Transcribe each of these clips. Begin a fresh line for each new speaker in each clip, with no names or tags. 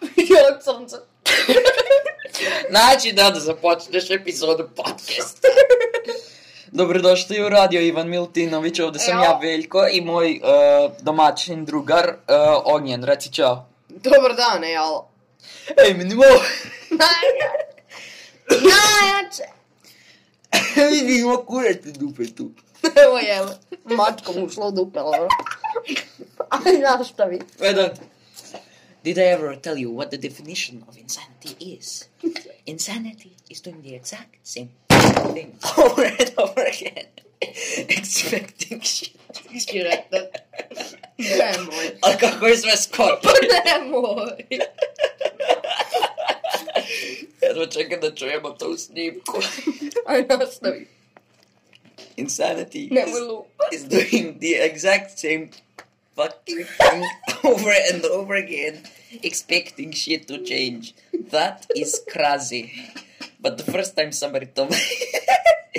Jelog crnca.
Naći da da započneš epizodu podcast. Dobrodošli u radio Ivan Milutinović, ovdje sam
Evo.
ja Veljko i moj uh, domaćin drugar uh, Ognjen, reci čao.
Dobar dan, e, jel?
Ej, mi nimo,
Najjače. Najjače.
vidimo kurac u dupe tu.
Evo jele. Mačka mu ušla u dupe, ono. Aj, znaš šta vi.
Vedant. E, Did I ever tell you what the definition of insanity is? Insanity is doing the exact same thing over and over again, expecting shit to be corrected.
Nemoj.
A kako je sve skopo?
Pa Nemoj.
Jedva čekam da čujemo to u snimku.
Aj, nastavi.
Insanity
Nemoj
is,
lupa.
is doing the exact same fucking thing over and over again, expecting shit to change. That is crazy. But the first time somebody told me...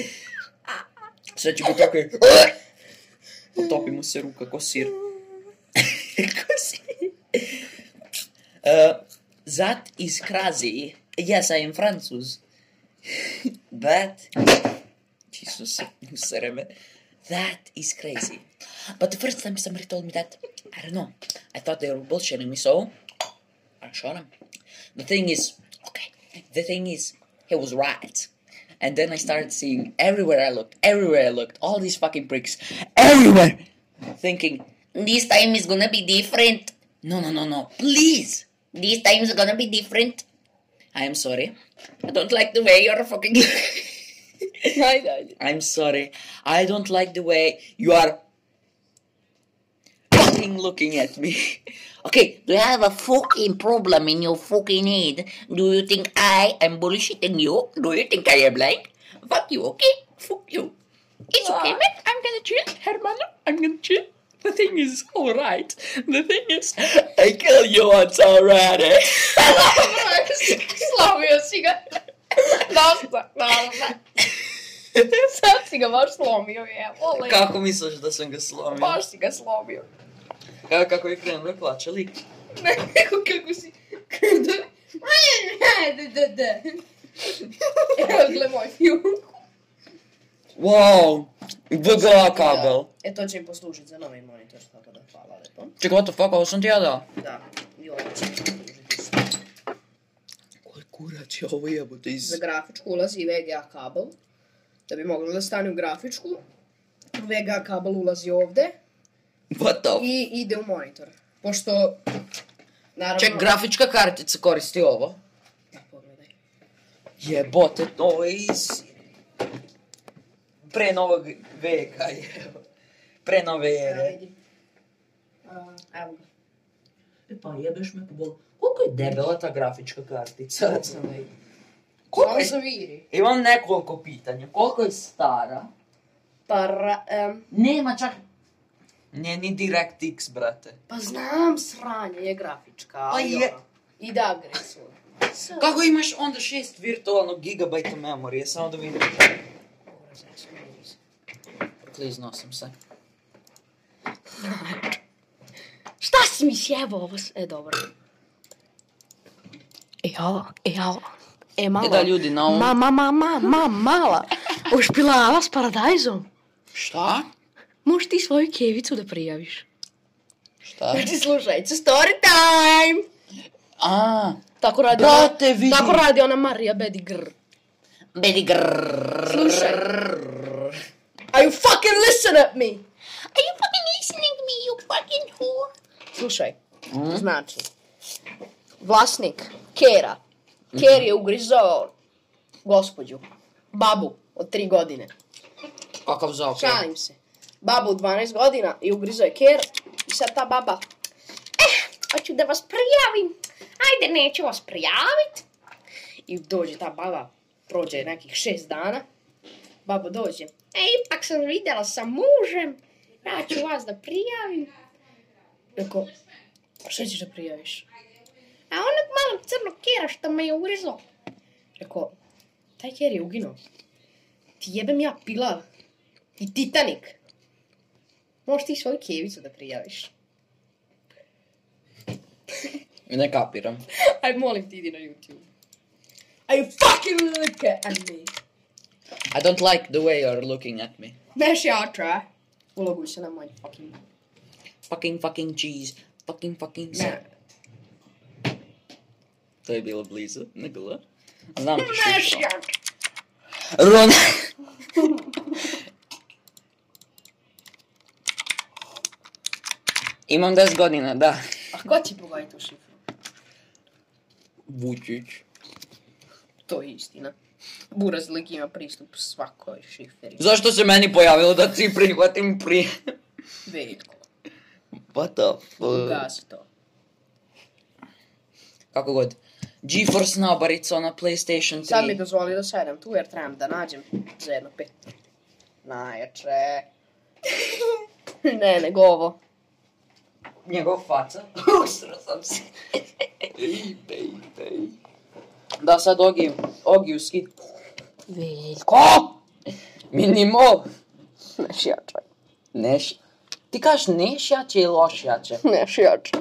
Sad ću biti tako je... Potopi mu se ruka ko sir. ko sir. Uh, that is crazy. Yes, I am Francus. That Jesus, you serve. That is crazy. But the first time somebody told me that, I don't know. I thought they were bullshitting me, so I shot him. The thing is, okay. The thing is, he was right. And then I started seeing everywhere I looked, everywhere I looked, all these fucking pricks, everywhere. Thinking this time is gonna be different. No, no, no, no. Please, this time is gonna be different. I am sorry. I don't like the way you're fucking.
Ajde, ajde.
I'm sorry. I don't like the way you are fucking looking at me. okay, do you have a fucking problem in your fucking head? Do you think I am bullshitting you? Do you think I am blind? Fuck you, okay? Fuck you. It's okay, man. I'm gonna chill, Hermano. I'm gonna chill. The thing is alright. The thing is, I kill you once already.
Slavio si ga. Dosta, dosta. Sad si ga baš slomio, evo.
Kako misliš da sam ga slomio?
Baš si ga slomio.
Ka- kako je krenuo plaća lik?
Neko kako si... Kada... Da, da, da. Evo, gle moj fijunku.
Wow, BGA kabel.
E, to će im poslužiti za novi monitor, tako da hvala lepo.
Čekaj, what the fuck, ovo sam ti ja dao.
Da, i ovo će im poslužiti
Koji kurac je ovo jebote iz...
za grafičku. Ulazi VGA kabel, da bi moglo da stane u grafičku. VGA kabel ulazi ovde
What the fuck?
i ide u monitor. Pošto, naravno...
Ček, grafička kartica koristi ovo.
Da, pogledaj.
Jebote, ovo je iz... Pre novog veka je. Pre nove
Evo,
ere.
vidi. A, Evo ga.
E pa jebeš me bol. Koliko je debela ta grafička kartica? Sad sam da vidim. Koliko
Samo
je...
zaviri.
Imam nekoliko pitanja. Koliko je stara?
Pa, ra, em,
Nema čak... Nije ni DirectX, brate.
pa znam, sranje je grafička.
Pa
ali
je.
ono, I da agresor.
Kako imaš onda šest virtualnog gigabajta memorije, samo da vidim. Kliznuo sam Dakle, se. E
Šta si mi sjebao ovo? s- E, dobro. E, jala, e, jala. E, mala.
E da, ljudi, na ovom...
Ma, ma, ma, ma, ma, mala. Ošpilava s paradajzom.
Šta?
Možeš ti svoju kevicu da prijaviš.
Šta?
Znači, slušaj, it's story time!
A,
Tako radi
Brate,
ona,
vidi.
Tako radi ona Marija Bedigr.
Bedi grrrr.
Slušaj. Are you fucking listen at me?
Are you fucking listening to me, you fucking whore?
Slušaj, znači, vlasnik Kera, Ker je ugrizao gospođu, babu od 3 godine.
Kakav zaokret.
Šalim se. Babu od 12 godina i ugrizao je Ker i sad ta baba, eh, hoću da vas prijavim. Ajde, neću vas prijavit. I dođe ta baba, prođe nekih 6 dana, baba dođe.
E, ipak sam vidjela sa mužem. Ja ću vas da prijavim.
Rekao, šta ćeš da prijaviš?
A onog malog crnog kjera što me je urezao.
Rekao, taj Ker je uginuo. Ti jebem ja pilav. I Titanik. Možeš ti svoju kevicu da prijaviš.
Ne kapiram.
Aj, molim ti, idi na YouTube. I fucking look at me.
I don't like the way you're looking at me.
Znaš ja try.
Uloguj se na moj fucking...
Fucking fucking cheese. Fucking fucking
Ne.
To je bilo blizu, ne bilo. Znam ti
Znaš
što.
ja
Ron... Imam 10 godina, da.
A ko ti pogaje tu šifru?
Vučić.
To je istina. Buraz lik ima pristup svakoj šifri.
Zašto se meni pojavilo da ti prihvatim pri...
Veliko.
What the fuck?
Ugasi to.
Kako god. GeForce nabarica na PlayStation 3.
Sad mi dozvoli da sedem tu jer trebam da nađem za jedno pet. Najjače. ne, nego ovo.
njegov faca. Usro sam se. ej, ej, ej. Da sad Ogi, Ogi uskid.
Veliko!
Minimo.
Neš jače.
Neš. Ti kažeš neš jače ili loš jače?
Neš jače.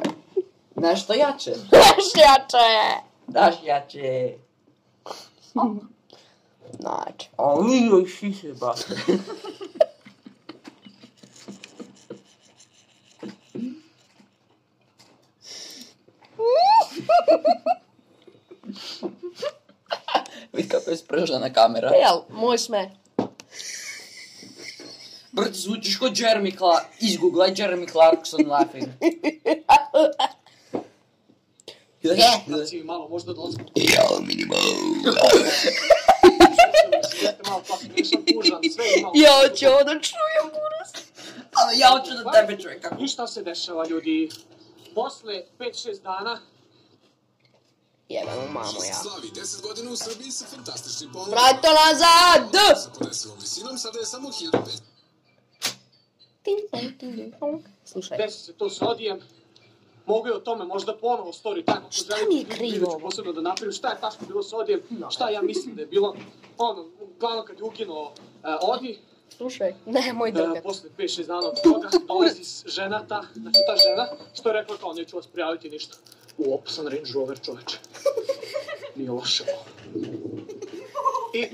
Nešto jače.
Neš jače!
Daš jače.
Najjače.
Ali joj šiše ba. Vidi kako je spržena kamera.
Pa Jel, moj sme.
Brate, zvučiš ko Jeremy Clark. Izgooglaj Jeremy Clarkson laughing.
Znači, malo možda dolazim
Ja, minimo.
malo papir, nisam tužan, sve imao.
Ja hoću ovo da čujem, Buraz.
Ali ja hoću da tebe čekam.
Ništa se dešava, ljudi. Posle 5-6 dana,
Jebam u mamu ja.
Slavi 10 godina u Srbiji sa fantastičnim ponudom.
Vrati to nazad!
Sa podesivom visinom sada je samo 1500.
Ting, tang, ting, ting, tong. Slušaj.
desi se to s Odijem. Mogu je o tome možda ponovo story time. Ako
Šta
želite,
mi je
vidjet ću
krivo?
Posebno da napravim šta je tačno bilo s Odijem, šta ja mislim da je bilo. Ono, uglavnom kad je ukinuo uh, Odi,
Slušaj. Ne, moj
E,
drgat.
posle 5-6 dana od toga dolazi s- žena ta, znači ta žena, što je rekla kao neću vas prijaviti ništa. U opasan Range Rover čoveče. Nije loše ovo. I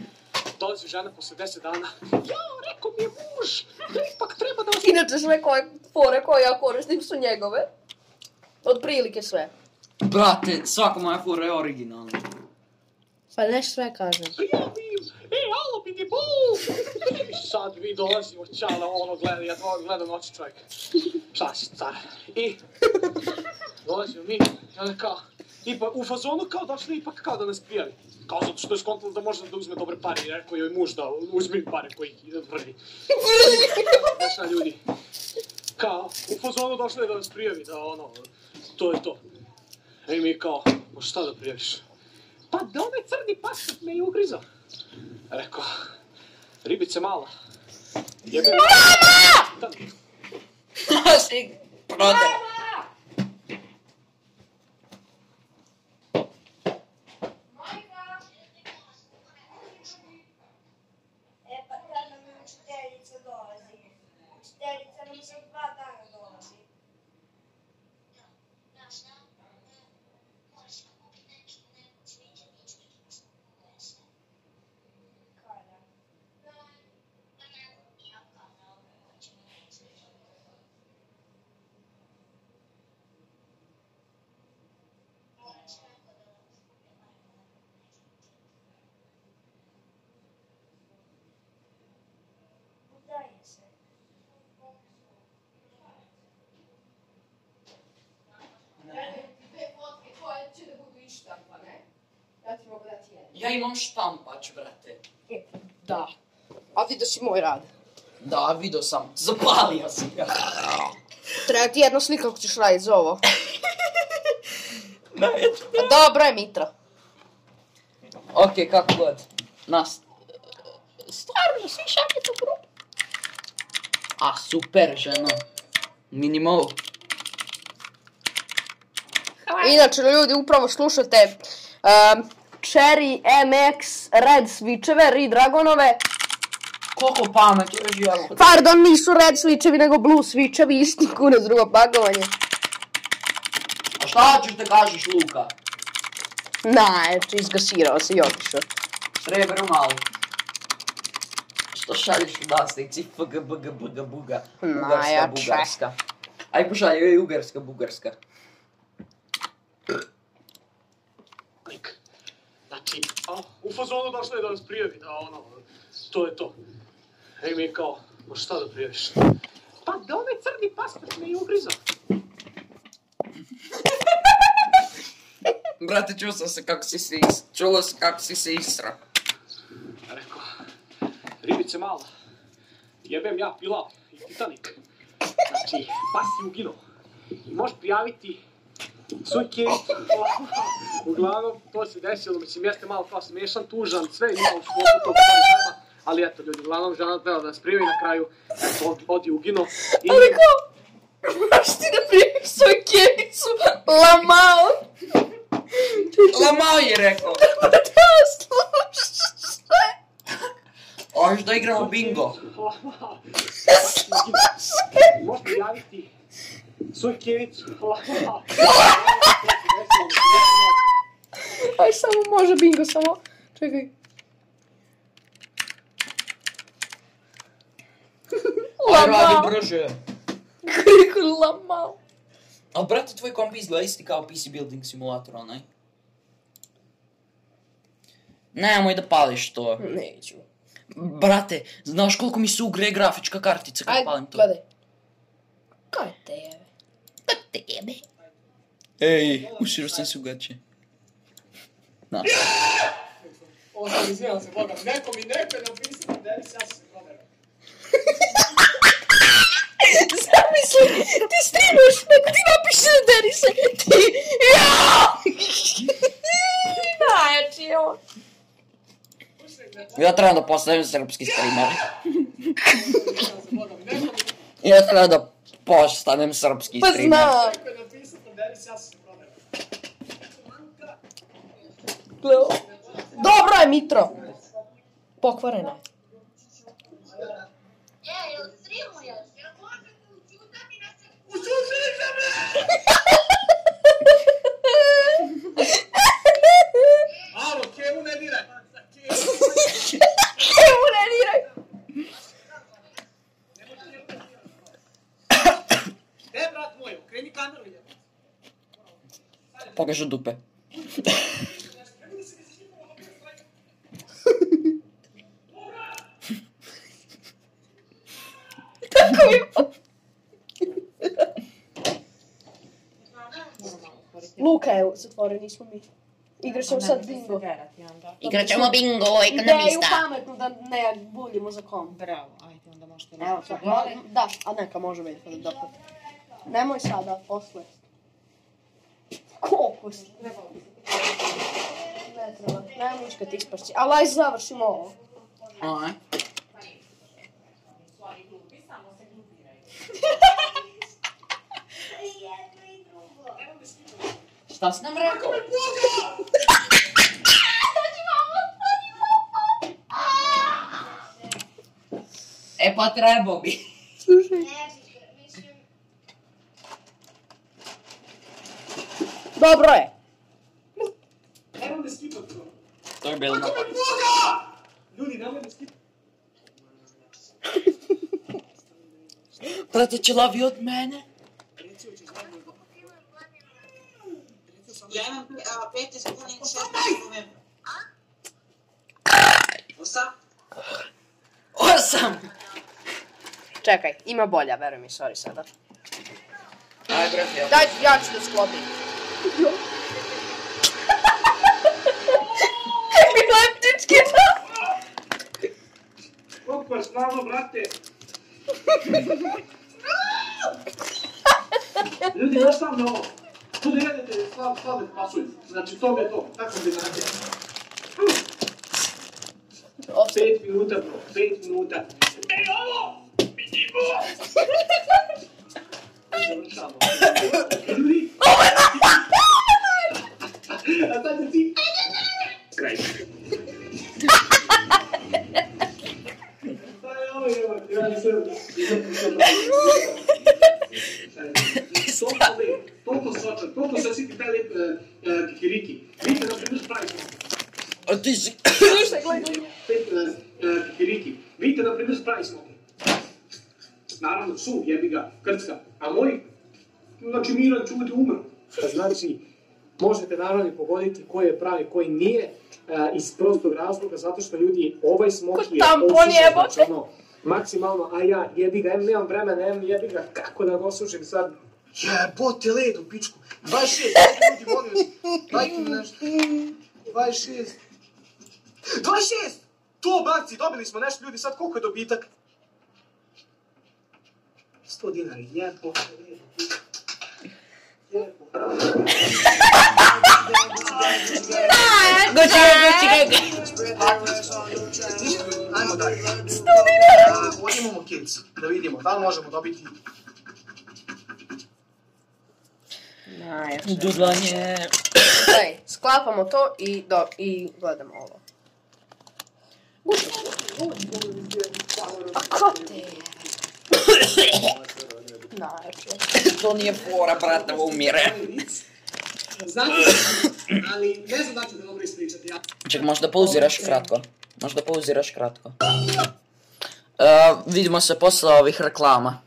dolazi žena posle 10 dana. Ja, rekao mi je muž, da ipak treba da vas...
Inače sve koje fore koje ja koristim su njegove. Od prilike sve.
Brate, svaka moja fura je originalna.
Pa ne sve kažem.
Prijavim, e, alo, bidi bol! I sad mi dolazimo, čala, ono gleda, ja to gledam oči čovjek. Šta si, cara? I dolazimo mi, i onda kao, ipak, u fazonu kao došli ipak kao da nas prijavi. Kao zato što je skontala da može da uzme dobre pare, i rekao joj muž da uzmi pare koji vrvi. Došla ljudi. Kao, u fazonu došla je da nas prijavi, da ono, to je to. E mi kao, "Ma šta da prijaviš? Pa da onaj crni pasak me je ugrizao. Rekao, ribice mala. Jebe Mama!
Svi, brate.
E pa tad nam je učiteljica dolazi. Učiteljica nam za dva dana dolazi. Kada? Udaje se.
Te fotke koje će da budu ištampane. Ja ti mogu dati jednu.
Ja imam štampač, brate.
Da. A vidi da si moj rad.
Da, vidio sam. Zapalio sam ga.
Treba ti jedna slika kako ćeš raditi za ovo.
Da, eto.
A dobro je Mitra.
Ok, kako god. Nas.
Stvarno, svi šaljete u grupu.
A, super žena. Minimo.
Inače, ljudi, upravo slušate um, Cherry MX Red Switcheve, Red Dragonove.
Koliko pamet uređujemo.
Pardon, nisu Red Switchevi, nego Blue Switchevi, isti kurac drugo pakovanje.
A šta ćeš da kažeš, Luka?
Ne, izgasirao se i otišao.
Srebro malo. Što šalješ u nasnici? Fg, bg, bg, buga. Bugarska,
Najjače.
bugarska. Aj pošalje, joj, ugarska, bugarska.
lik. Znači, a, u fazonu došla je da nas prijavi, da ono, to je to. E mi je kao, ma šta da prijaviš? Pa da onaj crni pasport me je ugrizao.
Brate, čuo sam se kako si se is... Čulo se kako si se isra.
Pa Rekao, ribice mala, jebem ja pila i Titanic. Znači, pas je uginuo. I možeš prijaviti Suki, uglavnom, to se desilo, mislim, jeste malo kao smešan, tužan, sve ima u sklopu tog problema, ali eto, ljudi, uglavnom, žena treba da nas prijavi na kraju, eto, od- odi ugino. I...
Ali kao, možeš ti da prijaviš svoju kjevicu, lamao,
Lamao je rekao.
pa da slušaj.
Hoćeš da igramo bingo.
Možeš prijaviti svoj kevicu.
Aj, samo može bingo, samo, čekaj.
Aj, radi
Lamao,
brže.
kako lamao.
Ali brate, tvoj komp izgleda isti kao PC Building Simulator, onaj. Nemoj da pališ to.
Neću.
Brate, znaš koliko mi se ugre grafička kartica kad
Aj,
palim to?
gledaj. Ko te jebe? Ko Pa te jebe?
Ej, uširo sam se ugaće. Na.
Ovo, izvijem se, Boga. Neko mi neko je napisao da je ja se prodajem.
Zamisli, ti streamaš, neko ti napiše da Derisa, ti... Jao! Najjači je on.
Ja trebam da postavim srpski streamer. ja trebam da postanem srpski
Pa
streamer.
znam.
Neko je napisao da je ja se prodajem.
Gleo. Dobro je, Mitro. Pokvarena je.
Alo, Kevu ne diraj.
Evo, ne diraj.
Ne, brat moj, okreni kameru. jebote.
Pokažu dupe.
Tako mi pa... Luka je zatvoren, nismo mi. Igraš ćemo sad bingo.
Igrat ćemo bingo,
Pa
Ideju pametnu da ne buljimo za kom.
Bravo, ajde, onda možete
Evo, sad, ma, da, a neka može već da dokle. Nemoj sada, posle. Koliko si? Ne treba, nemoj nič kad ispašći. Ali aj završimo ovo.
Aj.
Šta si nam rekao? E pa trebao bi.
É,
Dobro je.
Nemoj da skipati to.
To je bilo napad.
Ljudi, nemoj da skipati.
Brate, će lavi od mene.
Ja imam a, 15 kuna i 16 novembra. Osam?
Osam!
Čekaj, ima bolja, veruj mi, sorry sada.
Aj, brate, ja.
Daj, ja ću da sklopim. Kakvi leptički da?
Koliko je slavo, brate. Ljudi, još sam na ovo. Tu ne jedete slav, slavet pasulj. Znači, to mi je to. Tako bi znate. Pet minuta, bro. Pet minuta. Ej, ovo! Vidimo! Završamo. Ljudi! A sad je ti... Kraj. Šta je ovo, evo? Ja sam... Toliko, toliko,
toliko sočan, toliko se siti taj lep eh, eh, kikiriki. Vidite, na primjer, pravi smo
A ti si...
Slušaj, gledaj, gledaj. Kikiriki. Vidite, na primjer, spravi smo. Naravno, su, jebi ga, krcka. A moj, znači, miran čudi umr. Znači, možete naravno i pogoditi koji je pravi, koji nije, e, iz prostog razloga, zato što ljudi, ovaj smok je...
tampon
osušen,
jebote.
znači, ono, Maksimalno, a ja jebi ga, em nemam vremena, em jebi ga, kako da ga osušim sad? Jebote led u pičku, 26, ljudi, molim vas, dajte mi nešto. 26. 26! To, banci, dobili smo nešto, ljudi, sad koliko je dobitak? 100 dinara, jepo.
Goći ga, goći ga, ga.
Ajmo dalje. 100 dinara! Odimo mu kicu, da vidimo, da li možemo dobiti...
Najjače.
Dudlanje.
Gledaj, sklapamo to i, do, i gledamo ovo. A ko te je? Najjače.
To nije fora, brate, ovo umire.
Znate, ali ne znam da ću dobro ispričati. Ja.
Ček, možda pauziraš kratko. Možda pauziraš kratko.
Eh,
Uh, vidimo se posle ovih reklama.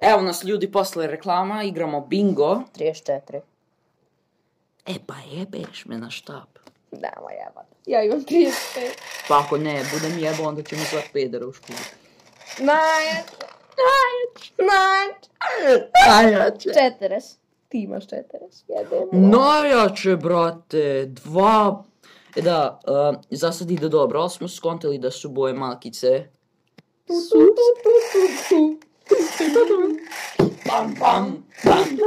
Evo nas ljudi posle reklama, igramo bingo.
34.
E pa jebeš me na štap.
Da, ma jebana. Ja imam 35.
Pa ako ne, budem jebo, onda ćemo zvat pedera u školu.
Najjače. Najjače. Najjače.
Najjače.
40. Ti imaš 40. Jedemo.
Najjače, brate, dva... E Da, uh, za sad ide dobro, ali smo skontali da su boje malkice. Bam, bam, bam.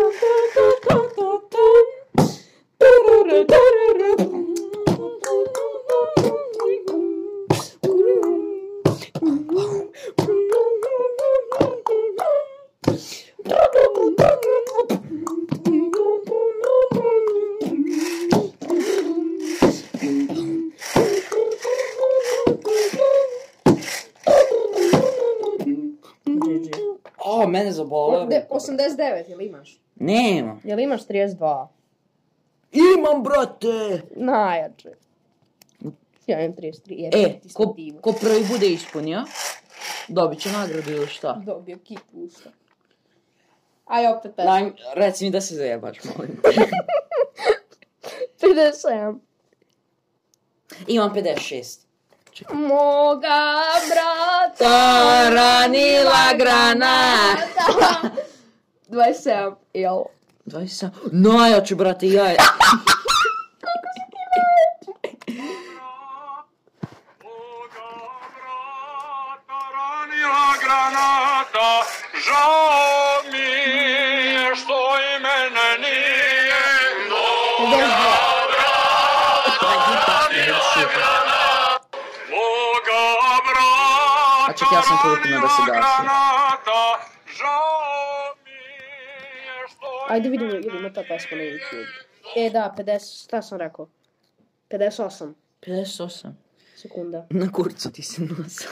oh,
O, mene zabolo.
De- 89, jel imaš?
Nemam.
Jel imaš 32?
Imam, brate!
Najjače. Ja imam 33, jer
E,
e, ti
ko,
stativu.
ko prvi bude ispunio, dobit će nagradu ili šta?
Dobio kipu u usta. Aj, opet pesma.
Daj, reci mi da se zajebaš, molim.
57.
Imam 56.
Moga brata
Ta ranila
granata. 27, jel?
27. Najjači, brate, ja je.
Ranila granata, žao mi je što i mene nije moga brata, ranila granata, moga
A čekaj, ja sam koliko ima da se gasi.
brata,
Ajde vidimo, idemo ta pesma na YouTube. E da, 50, šta sam rekao? 58
58.
sekunda.
Na kurcu ti se nosa.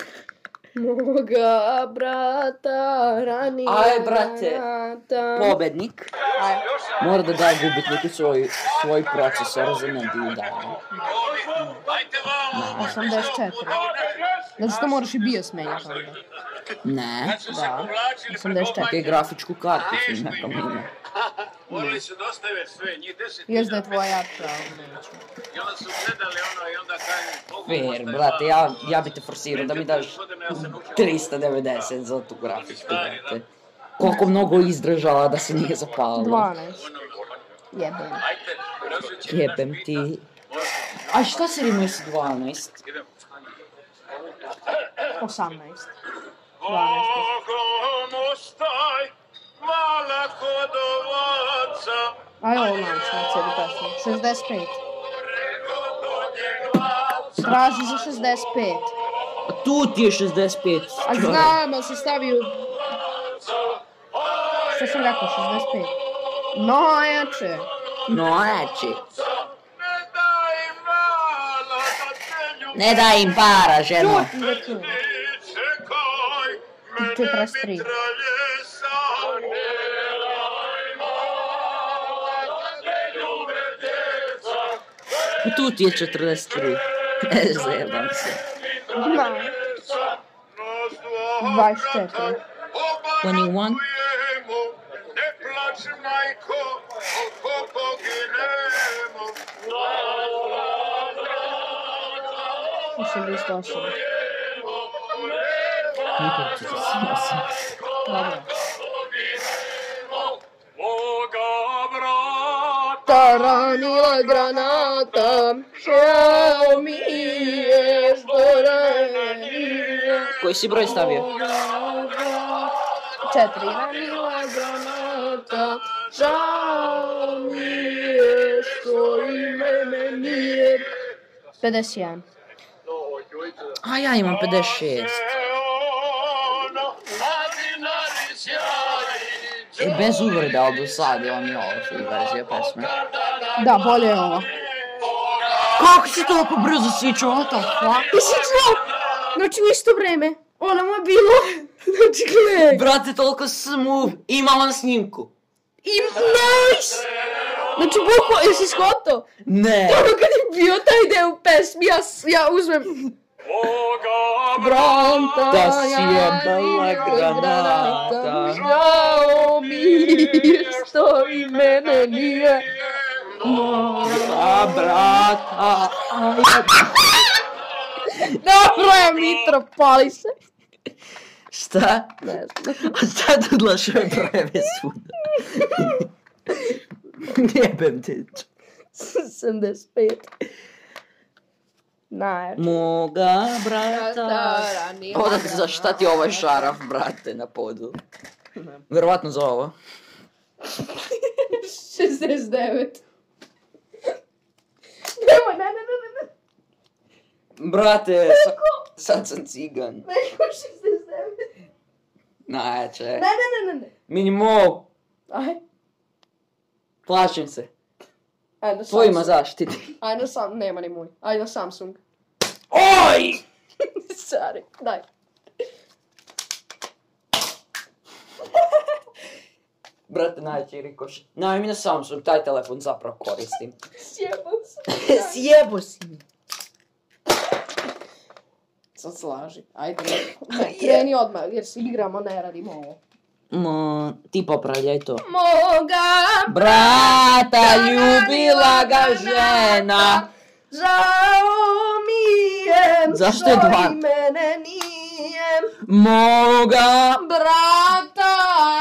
Moga brata rani
e,
Aj, brate,
granata.
Pobednik. Mora da daje gubitniku svoj, svoj procesor za mediju dana.
84. Znači to moraš i bios menjati onda.
Ne.
Da. 84.
Čekaj, grafičku karticu nekom ima.
Morali su dostave sve, njih deset
Još da je tvoja prava. neću.
i onda su gledali ono i onda kažu, Bogu,
Fair, brate, ja, ja bi te forsirao da mi daš 390 za tu grafičku, brate. Koliko mnogo je izdržala da se nije
Pa,
zapalila.
12. Jebem.
Jebem ti. A šta se rimuje sa 12?
18. 12.
Bogom ostaj, mala kodovaca,
Aj, ovo naučno, cijelu pesmu. 65. Traži za 65.
Pa Tu ti je 65.
A znam, ali sam stavio... Što sam rekao, 65. Najjače.
No, znači. Ne daj im para, ženo.
Čuti za tu.
čekaj,
43.
traljesa, ne laj mala, da te ljube djeca,
Pa
Tu ti je 43. E, zajebam se.
Na. 24.
21.
ne plači majko, oko poginemo.
88.
Nikog ti se nosi.
Dobro.
Ta
ranila granata, žao mi je što ranila
Koji si broj stavio?
4.
Ranila granata, žao mi je što i mene nije
51.
A ja imam 56.
E, bez uvreda, ali do sad je on je ovo full verzija pesme.
Da, bolje je ovo.
Kako si toliko brzo svičao, what the fuck?
Ti si čuo? Znači u isto vreme. Ono mu je bilo. Znači gledaj.
Brate, toliko smooth. Ima on snimku.
I nice! Znači bukva, jesi shvatao?
Ne.
Ono kad je bio taj deo pesmi, ja, s- ja uzmem... Branta,
Da si
ranila
jebala granata.
Žao mi je što i mene nije
A, brata.
Dobro je Mitro, pali se.
Šta?
Ne znam.
A sad odlašao je brojeve svuda. Jebem te.
75. Naj.
Moga brata. Odakle, za šta ti ovaj šaraf, brate, na podu? Verovatno za ovo.
69. Nemoj, ne, ne, ne, ne, ne.
Brate, sa, sad sam cigan.
Neko 69.
Najjače.
Ne, ne, ne, ne, ne.
Minimo,
Aj.
plašim se.
Ajde,
Tvojima zaštiti.
Ajde, sam, nema ni moj. Ajde, Samsung.
Oj!
Sorry, daj.
Brate, najjači rikoš. Naj, mi na Samsung taj telefon zapravo koristim.
Sjebam se.
Sjebo si mi.
Sad slaži. Ajde. Ne, kreni odmah, jer se igramo, ne radimo ovo.
mo, ti popravljaj to.
Moga
Brata ljubila ga žena.
Žao mi je
Zašto je
što
dva?
i mene nije
Moga
Brata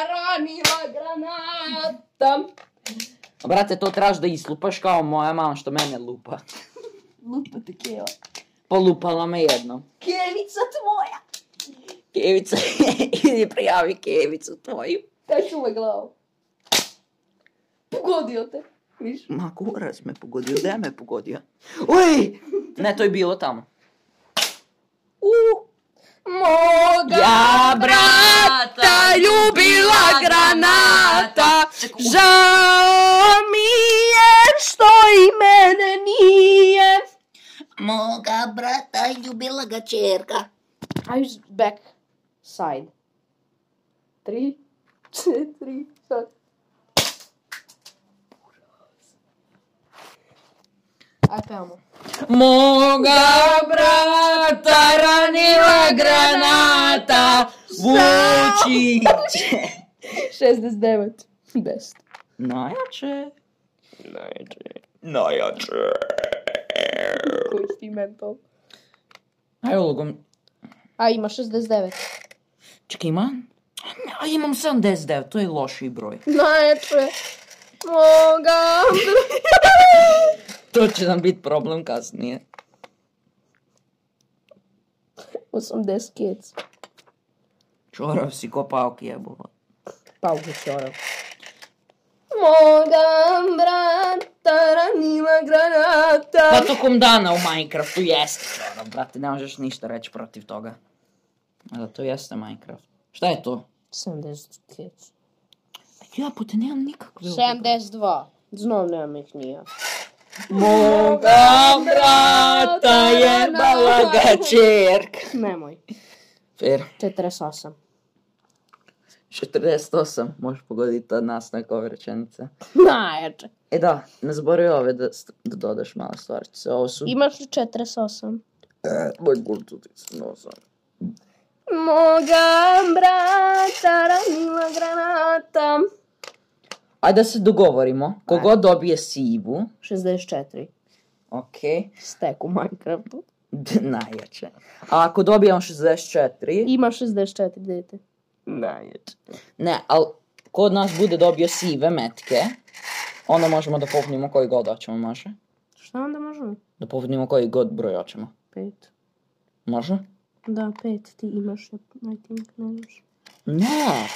ranila granata
Brate, to trebaš da islupaš kao moja mama što mene lupa.
Lupa te keva
Polupala me jednom.
Kevica tvoja
Kevica, idi prijavi Kevicu tvoju.
Taj ću me glavu Pogodio te Viš?
Ma kurac me pogodio, gde me pogodio? Uj! Ne, to je bilo tamo.
U Moga
Ja
brata
ljubila granata,
Žao mi je što i mene nije
Moga brata ljubila ga čerka.
Ajde back side. Tri, četiri, sad. Aj pevamo.
Moga brata ranila granata, vuči će.
69. Best.
Najjače. Najjače.
Koji si ti mental?
Aj ulogom.
A ima 69.
Čekaj, ima? A imam 79, to je loši broj.
Najjače. Moga.
To će nam biti problem kasnije.
80 kids.
Čorav si ko pauk jebova.
Pauke čorav. Moga brata ranila granata.
Pa tokom dana u Minecraftu jeste čorav, brate, ne možeš ništa reći protiv toga. Da, to jeste Minecraft. Šta je to?
70 kids.
Ja, pote nemam nikakve...
72. Znam, nemam ih nija.
Moga brata jebala ga čerka.
Nemoj.
Fer.
48.
48, možeš pogoditi od nas neka ove rečenice.
Najjače.
E da, ne zaboravi ove da, st- da dodaš malo stvarčice. Ovo su...
Imaš li 48?
E, Moj gultutic, no sam.
Moga brata ranila granata.
Ajde da se dogovorimo. Kogod dobije sivu,
64.
ok,
Stek u Minecraftu.
d- najjače. A ako dobijemo 64...
Ima 64, dete.
Najjače. Ne, ali ko od nas bude dobio sive metke, onda možemo da popnimo koji god hoćemo, može?
Šta onda možemo?
Da popnimo koji god broj hoćemo.
5.
Može?
Da, 5 ti imaš, ja I think nemaš.
Ne.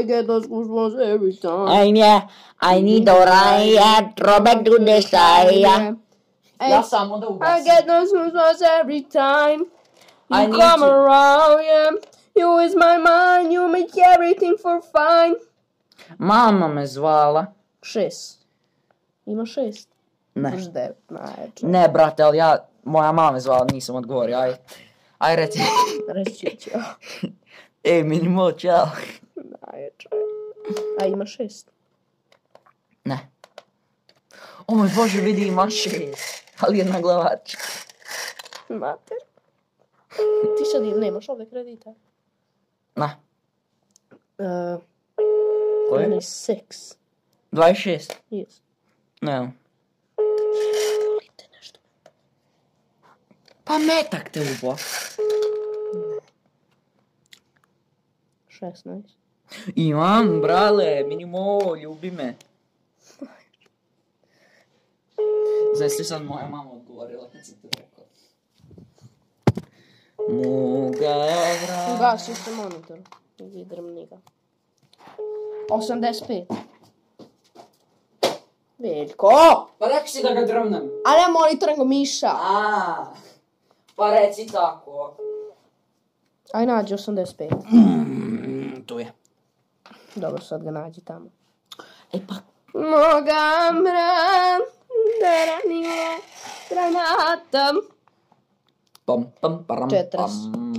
I get those goosebumps every time.
Ajnje, yeah, I need Oranje, trobe tu dešaja. Ja samo da
I
ugasim.
get those goosebumps every time. You
I need
come
to-
around, yeah. You is my mind, you make everything for fine.
Mama me zvala.
Šest. Ima šest.
Ne.
Imaš devet, najjače.
Ne, brate, ali ja, moja mama me zvala, nisam odgovorio, aj. Aj, reci.
Reći ću.
Ej, minimal, čao.
Najjače. A ima šest.
Ne. O moj Bože, vidi, ima šest. Ali jedna glavačka.
Mater. Ti sad nemaš ovdje kredita.
Na, E,
Uh,
Koji?
Only six.
26.
Yes.
Ne. Pa metak te ubo.
16.
Imam, brale, minimo, ljubi me. Znaš ti sad moja mama odgovorila kad sam ti rekao. Moga vra...
Ugasi se monitor. Vidrem njega. 85. Veljko!
Pa rekao si da ga drmnem.
A ne monitor, nego miša.
A, pa reci tako.
Aj nađi 85.
Mm, tu je.
Dobro, sad ga nađi tamo.
E pa.
Moga mram, da ranila granatom.
Pam, pam, param,
Četras,
pam.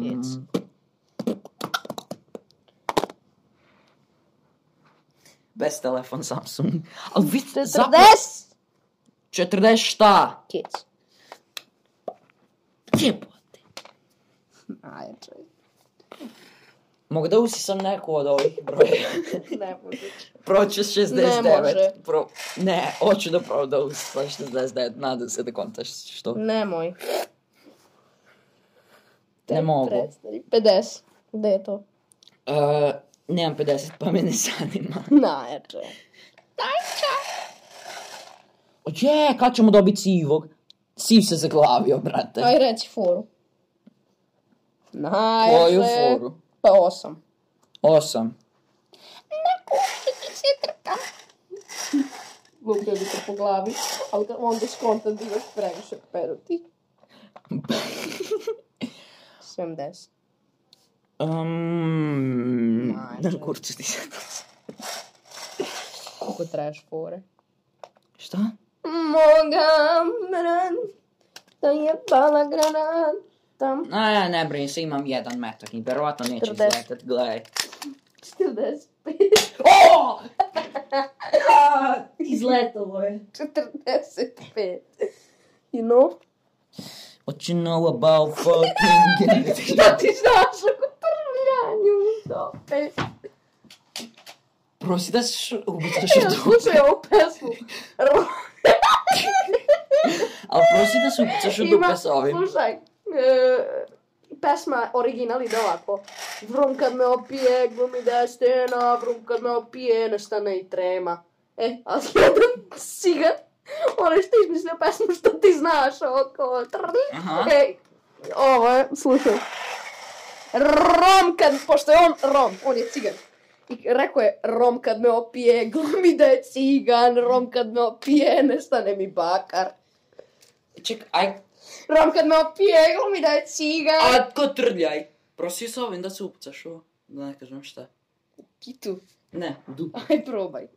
Bez telefon Samsung. Ali vi ste zapravo...
40!
40 šta?
Kids.
Jebote.
Najjače.
Mogu da usisam neku od ovih broja?
Ne može.
Proću 69.
Ne može.
Pro... Ne, hoću da probam da usisam 69. Nadam se da kontaš što.
Nemoj.
Ne mogu.
Prestani. 50. Gde je to?
Uh, nemam 50, pa me ne zanima.
Najjače.
Je, kad ćemo dobiti sivog? Siv se zaglavio, brate.
Aj reci foru. Najjače.
Koju foru?
Pa osam.
Osam.
Lupio bi te po glavi, ali ga- onda skontam da imaš previše peruti. 70.
Um,
Majče.
na kurcu ti sad.
Koliko traješ fore?
Šta?
Moga mran, da je pala granata.
A ja ne brini se, imam jedan metak i verovatno neće
40.
izletat, gledaj.
45.
O! Izletalo je.
45. You know?
What you know about fucking...
Šta ti znaš o kotrljanju? Dope.
Prosi da se ubicaš
Ja
u dupe.
slušaj ovu pesmu.
Ali prosi da se ubicaš u dupe sa ovim.
Slušaj, e, pesma original ide ovako. Vrum kad me opije, glumi da je stena, vrum kad me opije, nestane i trema. E, a slijedom siga, ono što je izmislio pesmu što ti znaš, oko trrrr.
Aha.
E, ovo je, slušaj. Rom kad, pošto je on Rom, on je cigan. I rekao je, Rom kad me opije, glumi da je cigan, Rom kad me opije, nestane mi bakar.
Ček, aj,
Rom kad me opije, glumi da je cigan.
a ko trljaj? Prosi sa ovim da se ubicaš u... Da ne kažem šta.
Kitu.
Ne, u dupe.
Aj, probaj.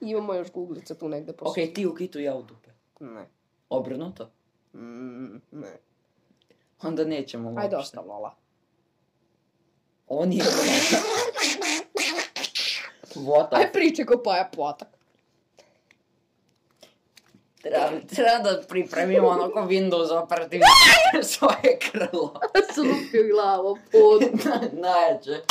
Imamo još guglica tu negde
Oh.
postoji.
Okej, ti u kitu, ja u dupe.
Ne.
Obrnuto?
Mm, ne.
Onda nećemo uopšte.
Ajde, ostav, Lola.
On je... What the
Aj, priče ko
pa-
paja potak.
Treba, treba da pripremimo onako Windows operativno svoje krlo.
Slupio glavu pod.
Najjače.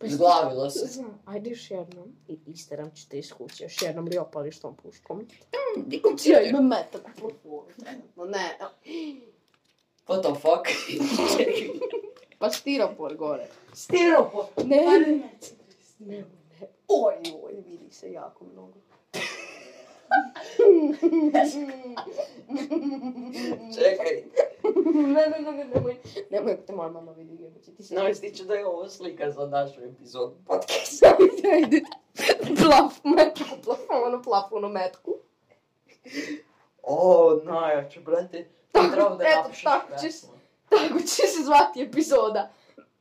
Zglavilo se.
Ajde još jednom. I isteram ću te iz kuće. Još jednom li opališ tom puškom.
Di
Ja imam metak. No ne.
What the fuck?
Pa stiropor gore.
Stiropor.
Ne. Ne. ne. Oj, oj, vidi se jako mnogo.
Čekaj.
ne, ne, ne, ne, nemoj. Nemoj, ako te moja mama vidi, jer će ti se...
No, stiče da je ovo slika za našu epizodu podcasta.
Ajde, ajde. Plaf, metku, plaf, ono, plaf, ono, metku.
O, najjače, brate. Ti treba da
Eto,
napišeš
tako će se,
pesmu.
tako će se zvati epizoda.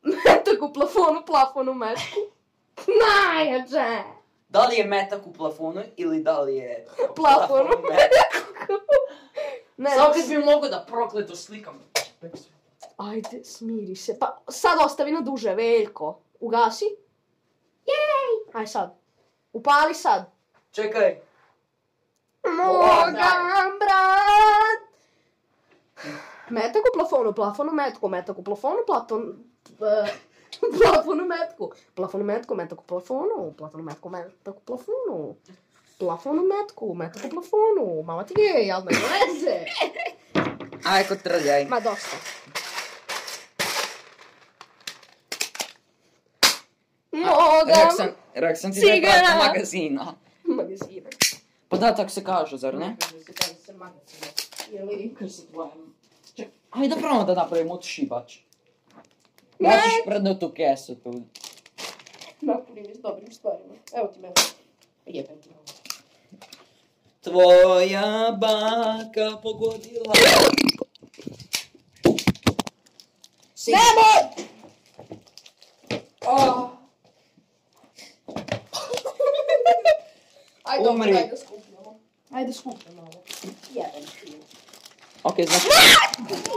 Metak u plafonu, plafonu, metku. Najjače!
Da li je metak u plafonu ili da li je...
Plafonu. Ne,
Samo kad bi mogo da prokleto slikam.
Ajde, smiri se. Pa sad ostavi na duže, Veljko. Ugasi. Jej! Aj sad. Upali sad.
Čekaj.
Moga brat! Metak u plafonu, plafonu metku, metak u plafonu, platon... eh, plafonu metku, plafonu metku, metak u plafonu, plafonu metku, metak u plafonu. Plafonu metku, metak u plafonu, mama ti gej, ali nema veze.
Aj, ko trljaj.
Ma dosta. Moga
Reksan, Reksan ti
Cigara.
rekla magazina.
magazina.
Pa da, tako se kaže, zar ne?
Ili...
Ajde da probamo da napravimo otušivač. Baciš prdno tu kesu tu.
Napunim je s dobrim stvarima. Evo ti mene. Jebem ti.
Tvoja baka pogodila...
Nemoj!
Ah.
Oh. Ajde,
Umri.
dobro, ajde skupljamo. Ajde skupljamo ovo. Jebem ti.
Ok, znači...
Što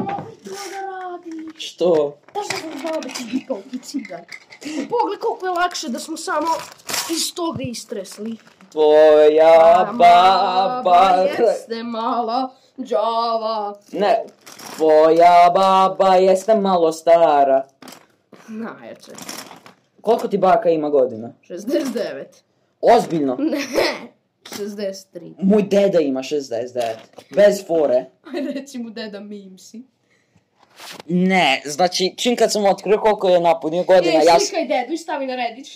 da radi?
Što?
Da se da babi ti bipao ti cigan. Pogled koliko je lakše da smo samo iz toga istresli.
Tvoja baba...
jeste mala džava.
Ne, tvoja baba jeste malo stara.
Najjače.
Koliko ti baka ima godina?
69.
Ozbiljno?
Ne. 63.
Moj deda ima 69. Bez fore.
Aj reci mu deda Mimsi.
Ne, znači, čim kad sam otkrio koliko je napunio godina,
Ej,
ja sam...
slikaj dedu i stavi na Reddit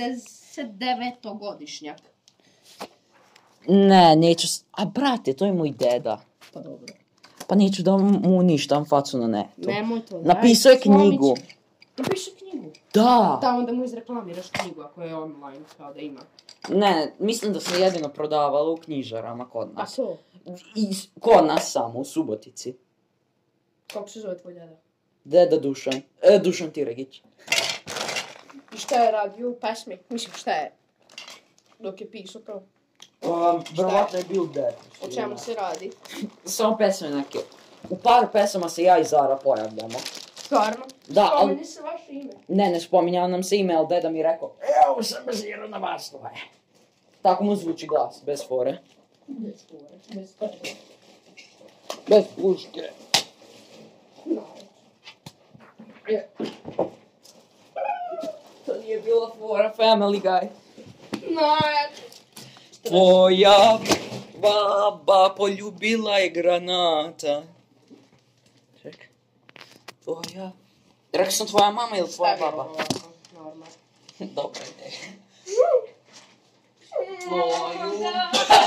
69 godišnjak.
Ne, neću... s- A brate, to je moj deda.
Pa dobro.
Pa neću da mu uništam facu na netu.
Nemoj to.
Napisao je
daj, slomit
knjigu.
će- Napiši knjigu.
Da.
Da, onda mu izreklamiraš knjigu ako je online, kao da ima.
Ne, mislim da se jedino prodavalo u knjižarama kod
A
nas.
to?
I s- kod nas samo, u Subotici.
Kako se zove tvoj deda?
Deda Dušan. E, Dušan Tiragić.
I šta je radio u pesmi? Mislim, šta je? Dok je pisao to.
Um, Verovatno je bio deda.
O čemu se radi?
Samo pesme neke. U par pesama se ja i Zara pojavljamo.
Stvarno?
Da, ali-
Spomeni se vaše ime.
Ne, ne spominjao nam se ime, ali deda mi je rekao Evo sam bazirao na vas dvoje. Tako mu zvuči glas, bez fore.
Bez fore, bez fore.
Bez puške. To nije bila fora, family guy.
Najjače.
Tvoja baba poljubila je granata. Ček. Tvoja... Rekao sam tvoja mama ili tvoja baba?
Normalno.
Dobra ideja. Tvoju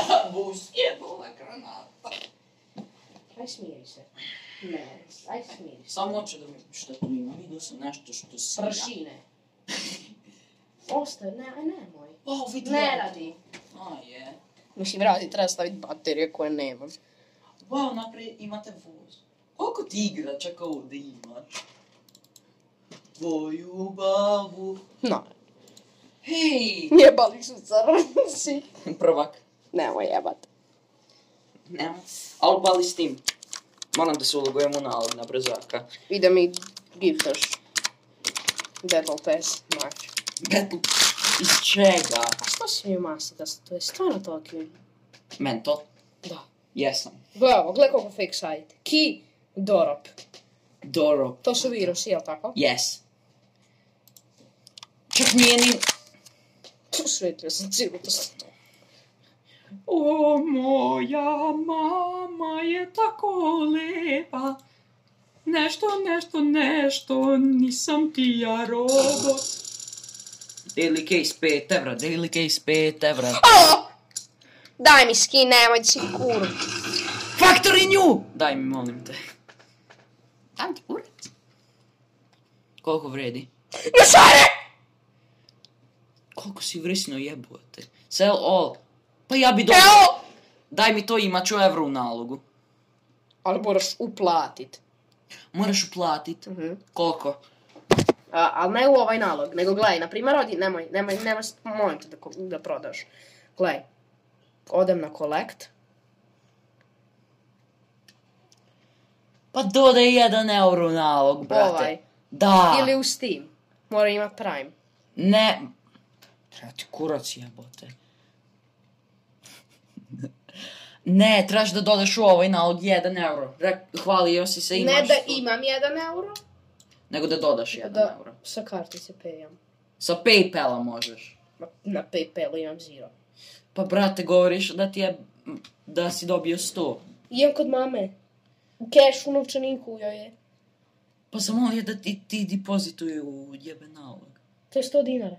babu sjebala granata.
Aj smiri se. Ne, aj smiri se.
Samo hoću da mi... Šta tu ima? Vidio sam nešto što si... ja.
Pršine. Ostaje, ne, aj nemoj.
O, vidi
Ne
ja.
radi.
A, je.
Mislim, radi, treba staviti baterije koje nemam.
Wow, naprijed imate voz. Koliko ti igračaka ovdje imaš? Tvoju babu...
No.
Hej!
Jebali su crnci.
Prvak.
Nemoj jebat.
Nemam. Ali upali s tim. Moram da se ulogujem u nalog na brzaka.
Ide mi giftaš. Battle Pass, mač.
Battle... Iz čega?
A što si mi masa da se to je stvarno toliki?
Mental?
Da.
Jesam.
Gle ovo, gle koliko fake sajt. Ki, dorop.
Doro.
To su virusi, jel tako?
Yes. Čak nije ni...
Susretio sam cijelu to sa to.
O, moja mama je tako lepa. Nešto, nešto, nešto, nisam ti ja robot. Daily case 5 evra, daily case 5 evra.
O! Daj mi skin, nemoj si kuru.
Factory New! Daj mi, molim te.
Dam ti kuru?
Koliko vredi?
Ne sare!
Koliko si vrisno jebote. Sell all. Pa ja bi dobio...
Evo!
Daj mi to, imat ću evro u nalogu.
Ali moraš uplatit.
Moraš uplatit.
Mhm.
Koliko?
A, ali ne u ovaj nalog, nego gledaj, na primjer, odi, nemoj, nemoj, nemoj, s- molim te da, ko- da prodaš. Gledaj, odem na collect,
Pa dodaj jedan euro u nalog, brate.
Ovaj.
Da.
ili u Steam, mora imat Prime.
Ne. Treba ti kurac jebote. ne, trebaš da dodaš u ovaj nalog jedan euro. Re, hvalio si se imaš.
ne da
tu.
imam jedan euro,
Nego da dodaš jedan
da
euro.
sa kartice payam.
Sa Paypala možeš.
Na, na Paypalu imam zero.
Pa brate, govoriš da ti je da si dobio 100.
Idem kod mame. U kešu u novčaniku joj je.
Pa samo je da ti, ti depozituje u jebe nalog.
To je 100 dinara.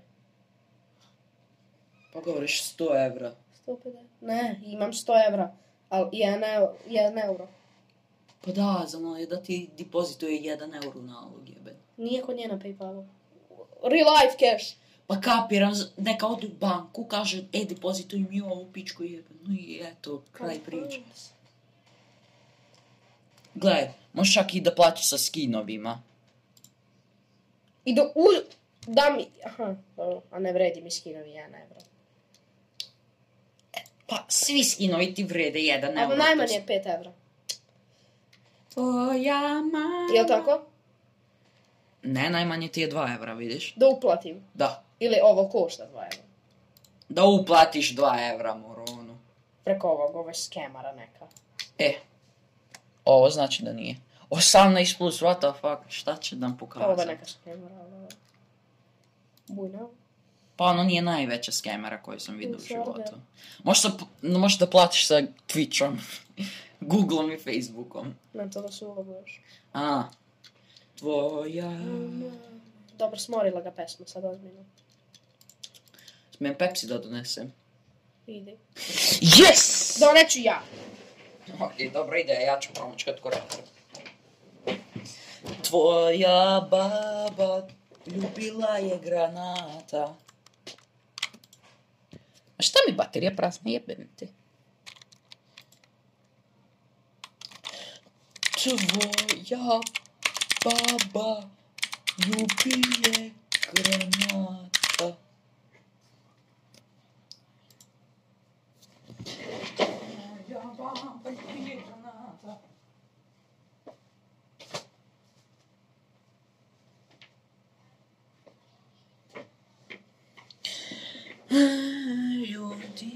Pa govoriš 100 evra.
150. Ne, imam 100 evra. Ali jedan, eu- jedan euro.
Pa da, samo je da ti depozituje jedan euro u nalog jebe.
Nije kod nje na Paypalu. Real life cash.
Pa kapiram, z- neka odu u banku, kaže, e, depozituj mi ovu pičku jebenu i eto, kraj priče. Gle, možeš čak i da plaćaš sa skinovima.
I do u... Da mi... Aha, dobro. A ne vredi mi skinovi jedan euro.
Pa, svi skinovi ti vrede jedan
Evo
euro.
najmanje
to
je 5 evra.
jest- Tvoja mama...
Jel tako?
Ne, najmanje ti je 2 evra, vidiš?
Da uplatim.
Da.
Ili ovo košta 2 evra.
Da uplatiš 2 evra, moro, ono.
Preko ovog, ovo je skemara neka.
E, ovo znači da nije. 18 plus, what the fuck, šta će nam
Ovo je
pokazati?
neka skemara, ovo. Bujna.
Pa ono nije najveća skemera koju sam vidio u
Nisam, da.
životu. Možeš, sa, no, možeš da platiš sa Twitchom, Googleom i Facebookom.
Nam to da se ulogu još.
A, tvoja...
Dobro, smorila ga pesma, sad ozbiljno.
Smem Pepsi da donesem.
Ide.
Yes!
Doneću ja.
Ok, dobra ideja, ja ću promučkat korektor. Tvoja baba ljubila je granata. A šta mi baterija prazna jebem ti? Tvoja baba ljubi je granata. Ljudi.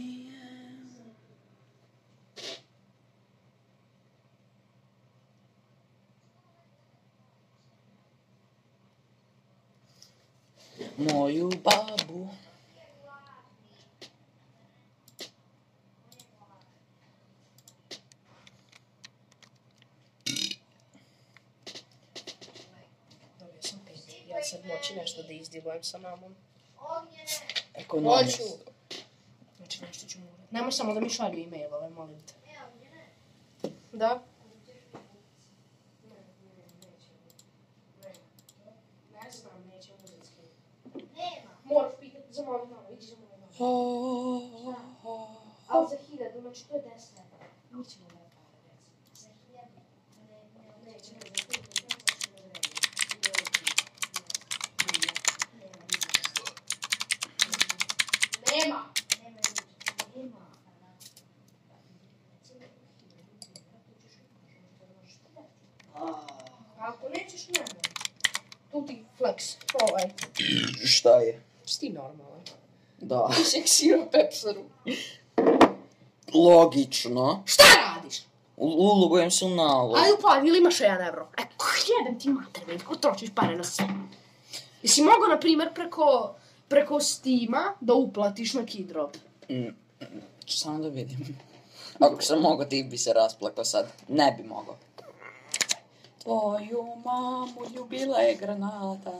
Moju babu.
Dobio sam pet. Ja sad moći nešto da izdilujem sa mamom.
Ekonomist.
Hoću. Znači nešto ću morati. Nemoj samo da mi šalju e-mailove, molim te. Da? Ne znam, neće muzicki. Nema. Moraš pitati za moju mamu, iđi za moju mamu. Ali za hiljadu, znači to je deset evra. Nećemo da je pare, recimo. Za hiljadu? Ne, ne, nećemo da je pare, nećemo da je pare. Nema. Ako nećeš, nema. Tu ti flex, ovaj.
Šta je?
Si ti normalan.
Da.
Ti seksira pepsaru.
Logično.
Šta radiš?
U- Ulogujem se u nalog.
Aj uplavi ili imaš jedan evro. E, jedem ti mater, već ko tročiš pare na sve. Jesi mogao, na primjer, preko, preko Steama da uplatiš na Keydrop?
Mm, Samo da vidim. Ako sam mogao, ti bi se rasplakao sad. Ne bi mogao. Tvoju mamu ljubila je granata.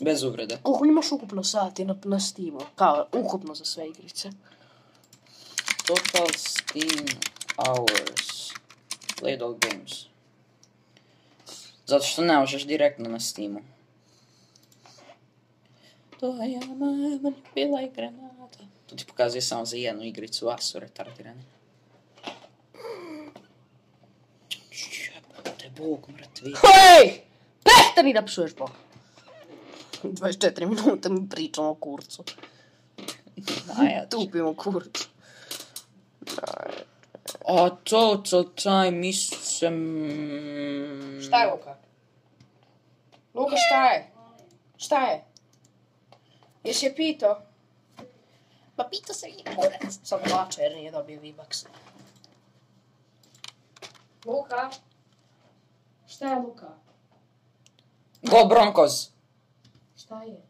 Bez uvrede.
Koliko imaš ukupno sati na, na Steamu? Kao, ukupno za sve igrice.
Total Steam Hours. Played all games. Zato što ne možeš direktno na Steamu. Tvoja mama ljubila je granata. To ti pokazuje samo za jednu igricu, a su retardirane. Jebote, Bog mrtvi.
Hej! Prestani da psuješ Boga. 24 minuta mi pričamo o kurcu.
Najjače.
Tupimo kurcu.
A total time mislim...
Šta je Luka? Luka, šta je? Šta je? Jesi je pitao? Pa pitao sam je kurac. Sad plače jer nije dobio V-Bucks. Luka? Šta je Luka?
Go Broncos!
Šta je?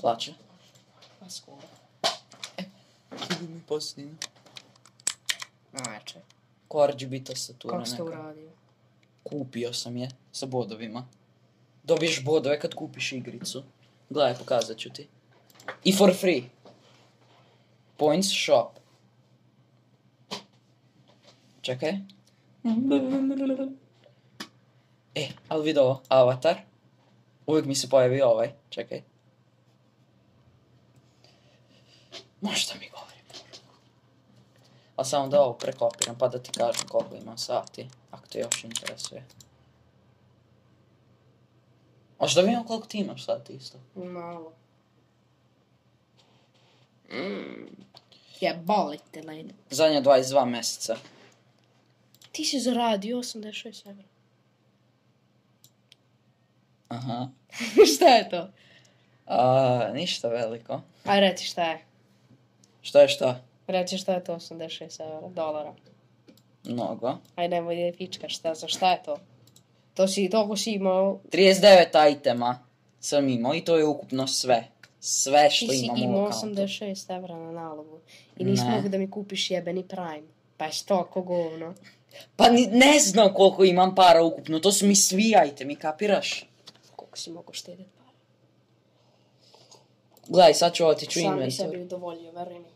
Plače.
Pa skoro.
Idi mi posljedinu.
Znači.
Korđi bita se tu
Kako ste uradili?
Kupio sam je sa bodovima. Dobiješ bodove kad kupiš igricu. Gledaj, pokazat ću ti. I for free. Points shop. Čekaj. E, ali vidi ovo, avatar. Uvijek mi se pojavi ovaj, čekaj. Možda mi govori. A samo da ovo prekopiram pa da ti kažem koliko imam sati, ako te još interesuje. Možeš da vidimo koliko ti imaš sati isto?
Malo. Mm. Jebolite, lejde.
Zadnja 22 mjeseca.
Ti si zaradio 86 evra.
Aha.
Šta je to?
A, ništa veliko.
Aj reci šta je.
Šta je šta?
Reci šta je to 86 evra, dolara.
Mnogo.
Aj nemoj da je pička, šta, za šta je to? To si, toliko si imao,
39 itema sam imao i to je ukupno sve. Sve što
ti si
imam u
imao
lokalu.
86 evra na nalogu. I nisi
Ne.
mogu da mi kupiš jebeni Prime. Pa je stoko govno.
Pa ni, ne znam koliko imam para ukupno, to su mi svi itemi, kapiraš?
Koliko si mogu štediti para?
Gledaj, sad ću otići u
Pa Sam bi
inventor.
sebi udovoljio, veruj mi.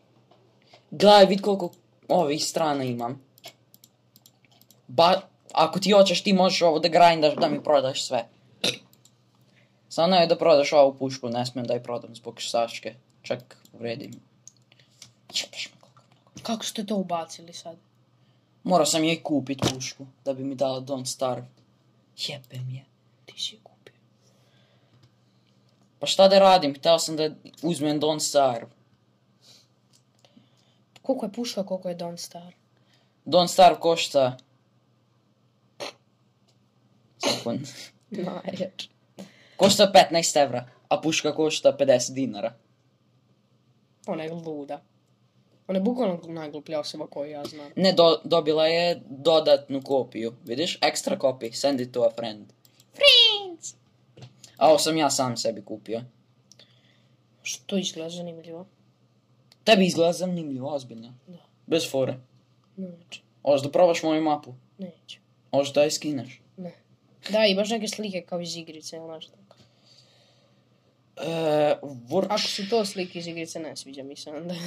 Gledaj, vid koliko ovih strana imam. Ba, ako ti hoćeš, ti možeš ovo da grindaš, da mi prodaš sve. Samo je da prodaš ovu pušku, ne smijem da je prodam zbog Saške. Čak, vredim. Čepaš me.
Kako ste to ubacili sad?
Morao sam jej kupit pušku, da bi mi dala Don't Starve. Jebe mi je.
Ti si je kupio.
Pa šta da radim, htio sam da uzmem Don't Starve.
Koliko je pušao, koliko je Don Star?
Don't Starve košta... Sekund.
Najjače.
Košta 15 evra, a puška košta 50 dinara.
Ona je luda. Ona je bukvalno najgluplja osoba koju ja znam.
Ne, do, dobila je dodatnu kopiju. Vidiš? Extra copy. Send it to a friend.
Friends!
A ovo sam ja sam sebi kupio.
Što izgleda zanimljivo.
Tebi izgleda zanimljivo, ozbiljno.
Da.
Bez fore.
Znači,
Hoćeš da probaš moju mapu?
neću.
Hoćeš da je skineš?
Ne. Da, imaš neke slike kao iz igrice ili nešto.
E, vrč.
Ako su to slike iz igrice, ne sviđa mi se onda.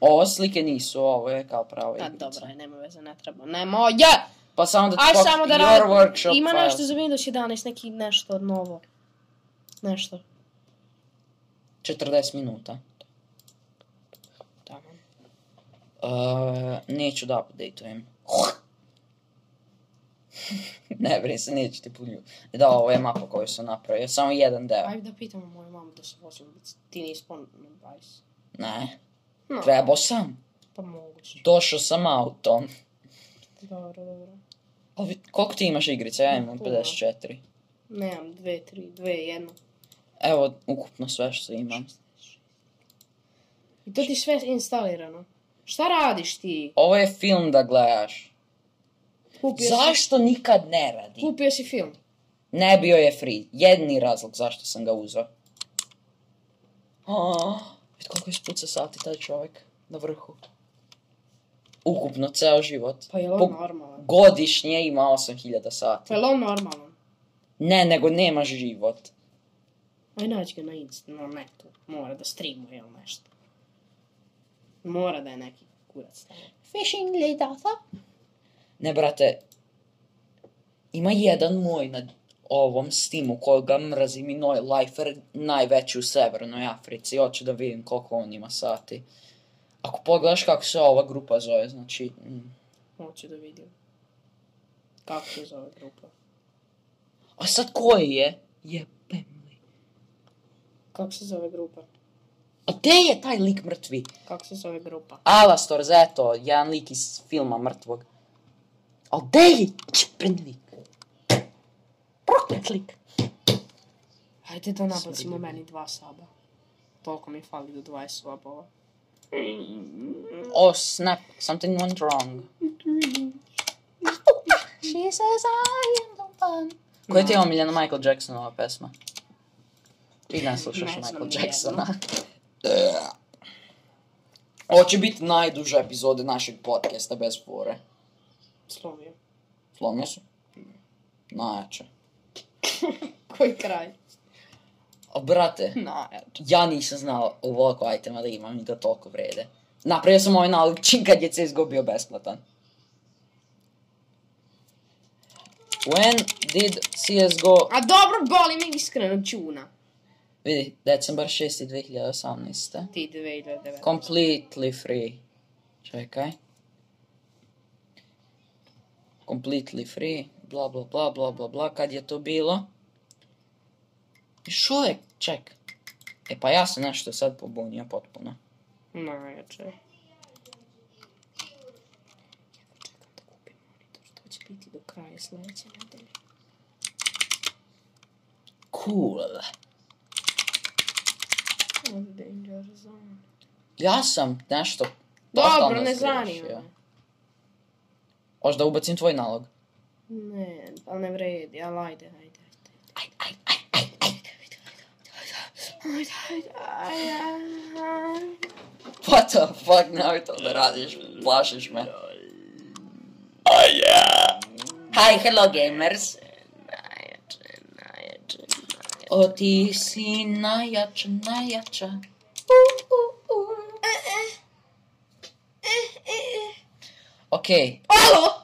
Ovo slike nisu, ovo je kao pravo
A
igrica.
dobro, je, nema veze, ne treba. Nemo, ja!
Pa samo da ti
Aj
pok-
samo da
your
radim.
workshop
Ima
file.
nešto za Windows 11, neki nešto novo. Nešto.
40 minuta.
Tamo.
E, neću da updateujem. ne brini se, neću ti punju. Da, ovo je mapa koju sam napravio. Samo jedan deo.
Ajde da pitamo moju mamu da se vozim. Ti nisi pon na 20.
Ne.
No.
Trebao sam.
Pa moguće.
Došao sam autom.
Dobro, dobro.
Ali koliko ti imaš igrice? Ja imam
Puno.
54.
Nemam, dve, tri, dve, jedno.
Evo, ukupno sve što imam.
I to ti sve instalirano. Šta radiš ti?
Ovo je film da gledaš.
Kupio Si,
Zašto nikad ne radi?
kupio si film.
Ne bio je free. Jedni razlog zašto sam ga uzeo. Oh, vidi koliko ispuca sati taj čovjek na vrhu. Ukupno, ceo život.
Pa je li on
Po-
normalan?
Godišnje ima 8000 sati.
Pa je li on normalan?
Ne, nego nemaš život.
Aj nađi ga na Insta, na netu. Mora da streamuje ili nešto. Mora da je neki kurac tamo.
Fishing lidata? Ne, brate. Ima jedan moj na ovom Steamu koga mrazi mi noj lifer najveći u Severnoj Africi. Hoću da vidim koliko on ima sati. Ako pogledaš kako se ova grupa zove, znači... mm.
Hoću da vidim. Kako se zove grupa?
A sad koji je? Jebe mi.
Kako se zove grupa?
A gde je taj lik mrtvi?
Kako se zove grupa?
Alastor Zeto, jedan lik iz filma mrtvog. A gde je čepren lik? Proklet lik.
Hajde da nabacimo meni dva saba. Toliko mi fali do 20 sabova.
Oh snap, something went wrong.
She says I am the one.
Koja ti je omiljena Michael Jacksonova pesma? Ti ne slušaš
Ne znam
Michael
nijednu.
Jacksona. Ovo će biti najduža epizoda našeg podcasta bez fore.
Slovija.
Slomio se?
Mm.
Najjače.
Koji kraj?
A brate,
No. Najjače.
ja nisam znao ovoliko itema da imam i da toliko vrede. Napravio sam ovaj nalog čim kad je CSGO bio besplatan. When did CSGO...
A dobro, boli me iskreno čuna.
Vidi, decembar 6. 2018.
Ti 2009.
Completely free. Čekaj. Completely free. Bla, bla, bla, bla, bla, bla. Kad je to bilo? Još uvijek, ček. E pa ja sam nešto sad pobunio potpuno.
Najjače. To će biti do kraja sljedeće nedelje.
Cool.
Danger zone.
Ja sam nešto...
Dobro,
totalno
ne
zgrešio.
zanima. me.
Hoćeš da ubacim tvoj nalog?
Ne, ali ne vredi, ali ajde, ajde. Ajde, ajde, ajde, ajde, ajde.
What the fuck, nemoj to da radiš, plašiš me. Aja! Oh, Hi, hello gamers. O ti si najjača, najjača. Okej,
Alo!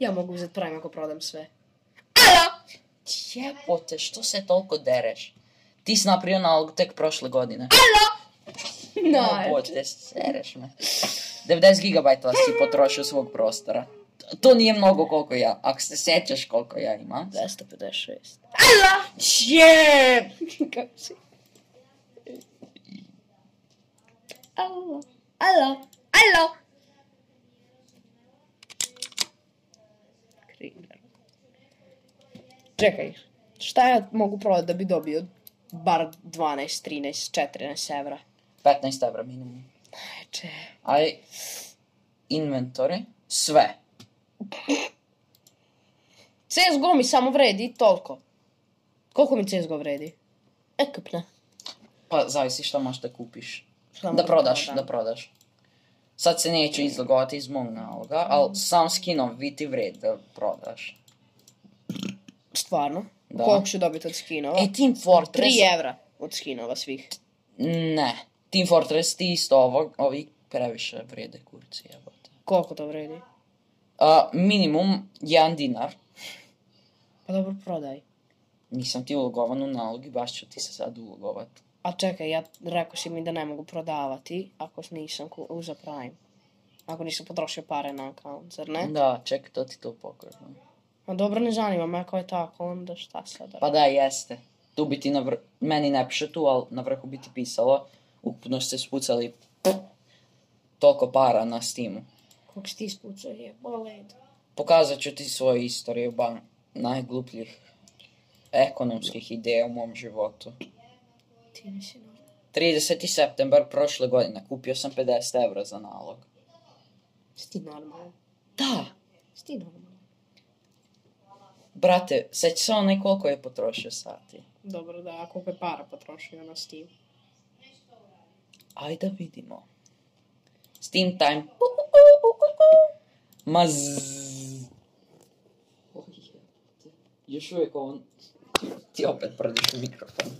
Ja mogu uzeti prime ako prodam sve.
jebote, što se toliko dereš? Ti si napravio nalog tek prošle godine. Jebote, sereš me. 90 GB si potrošio svog prostora. T- To nije mnogo koliko ja. Ako se sjećaš koliko ja imam. 256. Jeb!
Kako si? Alo, alo, alo! Kringer. Čekaj, šta ja mogu prodati da bi dobio bar 12, 13, 14 evra?
15 evra minimum.
Eče.
Aj, inventory, sve.
CSGO mi samo vredi toliko. Koliko mi CSGO vredi? Ekupna.
Pa zavisi šta možeš da kupiš.
Šta
da
možda
prodaš,
prodam.
da prodaš. Sad se neću izlogovati iz mog naloga, ali sam skinom vi ti vred da prodaš.
Stvarno?
Da.
Koliko ću dobiti od skinova?
E, Team Fortress...
3 evra od skinova svih.
Ne. Team Fortress ti isto ovog, ovi previše vrede kurci, jebote.
Koliko to vredi?
A, minimum 1 dinar.
Pa dobro, prodaj.
Nisam ti ulogovan u nalog i baš ću ti se sad ulogovat.
A čekaj, ja rekao si mi da ne mogu prodavati ako nisam ku- uzeo Prime. Ako nisam potrošio pare na account, zar ne?
Da, čekaj, to ti to pokrenuo.
Ma dobro, ne zanima me ako je tako, onda šta sada?
Pa da, jeste. Tu bi ti na vrhu, meni ne piše tu, ali na vrhu bi ti pisalo. Ukupno ste spucali toliko para na Steamu.
Kako si ti ispucao je, boled.
Pokazat ću ti svoju istoriju ban najglupljih ekonomskih ideja u mom životu.
Ti nisi normalan.
30. septembar prošle godine kupio sam 50 evra za nalog.
Si ti normalan.
Da,
Si ti normalan.
brate, seća se onaj koliko je potrošio sati.
Dobro, da, a koliko je para potrošio na Steam.
Ajde da vidimo. Steam time. Ma zzz. Još uvijek on... Ti opet prdiš u mikrofon.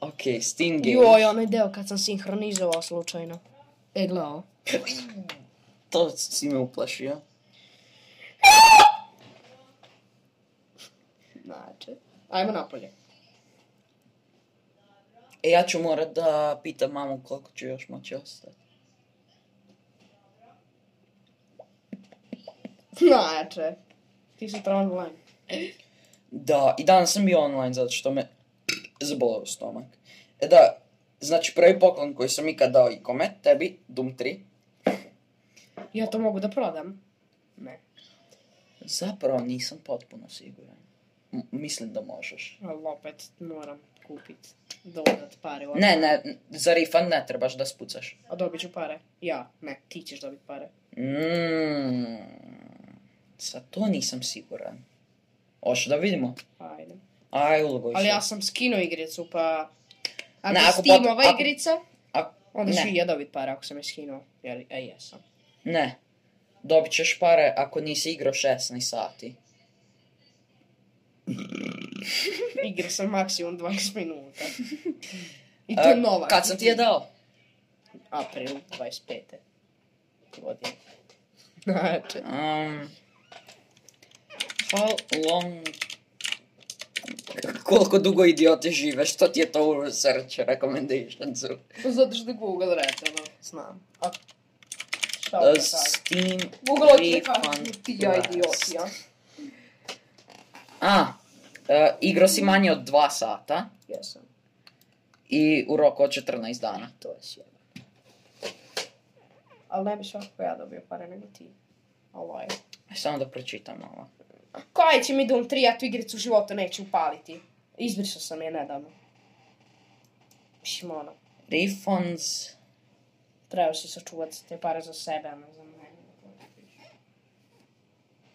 Ok, Steam Games.
Joj, onaj deo kad sam sinhronizovao slučajno. E, gledao.
To si me uplašio.
Znači. Ajmo napolje.
E, ja ću morat da pitam mamu koliko ću još moći ostati.
Znači. Ti si trebalo online.
Da, i danas sam bio online zato što me zabolao stomak. E da, znači prvi poklon koji sam ikad dao ikome, tebi, Doom 3.
Ja to mogu da prodam.
Zapravo nisam potpuno siguran. M- mislim da možeš.
Ali opet moram kupit. Dodat pare. u
Ne, ne, n- za refund ne trebaš da spucaš.
A dobit ću pare. Ja, ne, ti ćeš dobit pare.
Mm, sad to nisam siguran. Hoće da vidimo.
Ajde.
Aj, ulogo
Ali ja sam skinuo igricu, pa... Ako
Ne,
ne,
ako
Steam
pot-
ova
ako-
igrica,
A,
onda
ne.
ću i ja dobit pare ako sam je skinuo. Jer, a jesam.
Ne. Dobit ćeš pare ako nisi igrao 16 sati.
Igra sam maksimum 20 minuta. I
A,
to je nova.
E, Kad sam ti je dao?
April 25. godine. Znači.
Um, how long... Koliko dugo idiote žive, što ti je to u search recommendationsu?
Zato što je Google rekao, no, znam. A, šta
Uh,
da kažem?
Steam
Google hoće da
refund
kaže, ti ja
plus.
idiot, ja.
A, uh, igro si manje od 2 sata
Jesam.
i u roku od 14 dana.
To je sjeba. Ali ne bi svakako ja dobio pare nego ti. Ovaj. Pa
Aj, E, Samo da pročitam ovo.
Koja će mi Doom 3, ja tu igricu u životu neću upaliti. Izbrisao sam je nedavno. Mislim, ono,
Refunds.
trebao si sačuvati te pare za sebe, a ne za mene.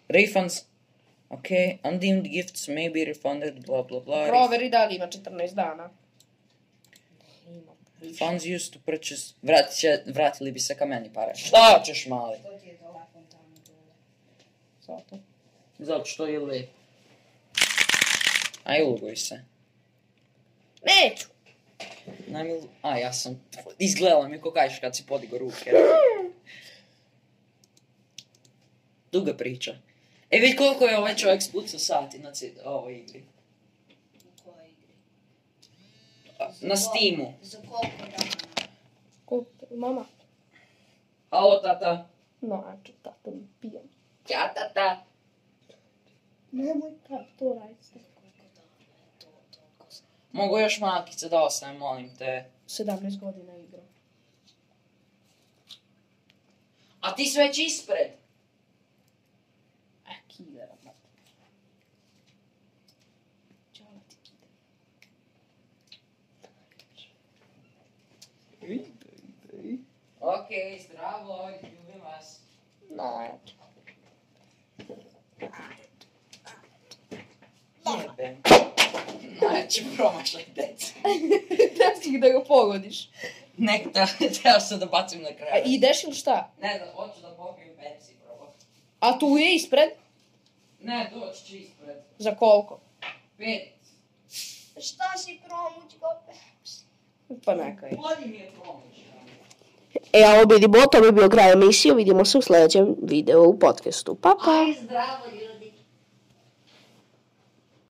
Refunds. Okay, undeemed gifts may be refunded, blah blah blah.
Proveri da li ima 14 dana.
Funds used to purchase... Vrat će, vratili bi se ka meni pare. Šta ćeš, mali?
Zato.
Zato što je lep. Aj, uloguj se.
Neću!
Najmil... A, ja sam... Izgledala mi ko kažeš kad si podigo ruke. Duga priča. E, vidi koliko je ovaj čovjek spucao sati na cid... ovoj igri. A, Na Steamu.
Za koliko dana?
Ko, mama?
Halo, tata.
No, a ću tato mi pijem.
Ja, tata.
Nemoj tako to raditi.
Mogu još makice da ostavim, molim te.
17 godina igram.
A ti si već ispred.
A kidera, mati. Čala ti kidera.
Okej, okay, zdravo, ljubim vas.
No,
Jebem. Najveći Znači, promašaj, deca.
da si da ga pogodiš.
Nek, te, teo sam da bacim na
A
kraju.
ideš ili šta?
Ne znam, hoću da popijem Pepsi, bro.
A tu je ispred?
Ne, doći ću ispred.
Za koliko?
Pet.
Šta si promuć opet?
Pa neka je.
Bolji mi je promašaj.
E, a ovo bi bio kraj emisije, vidimo se u sljedećem videu u podcastu. Pa, pa!
Zdravo, ljudi.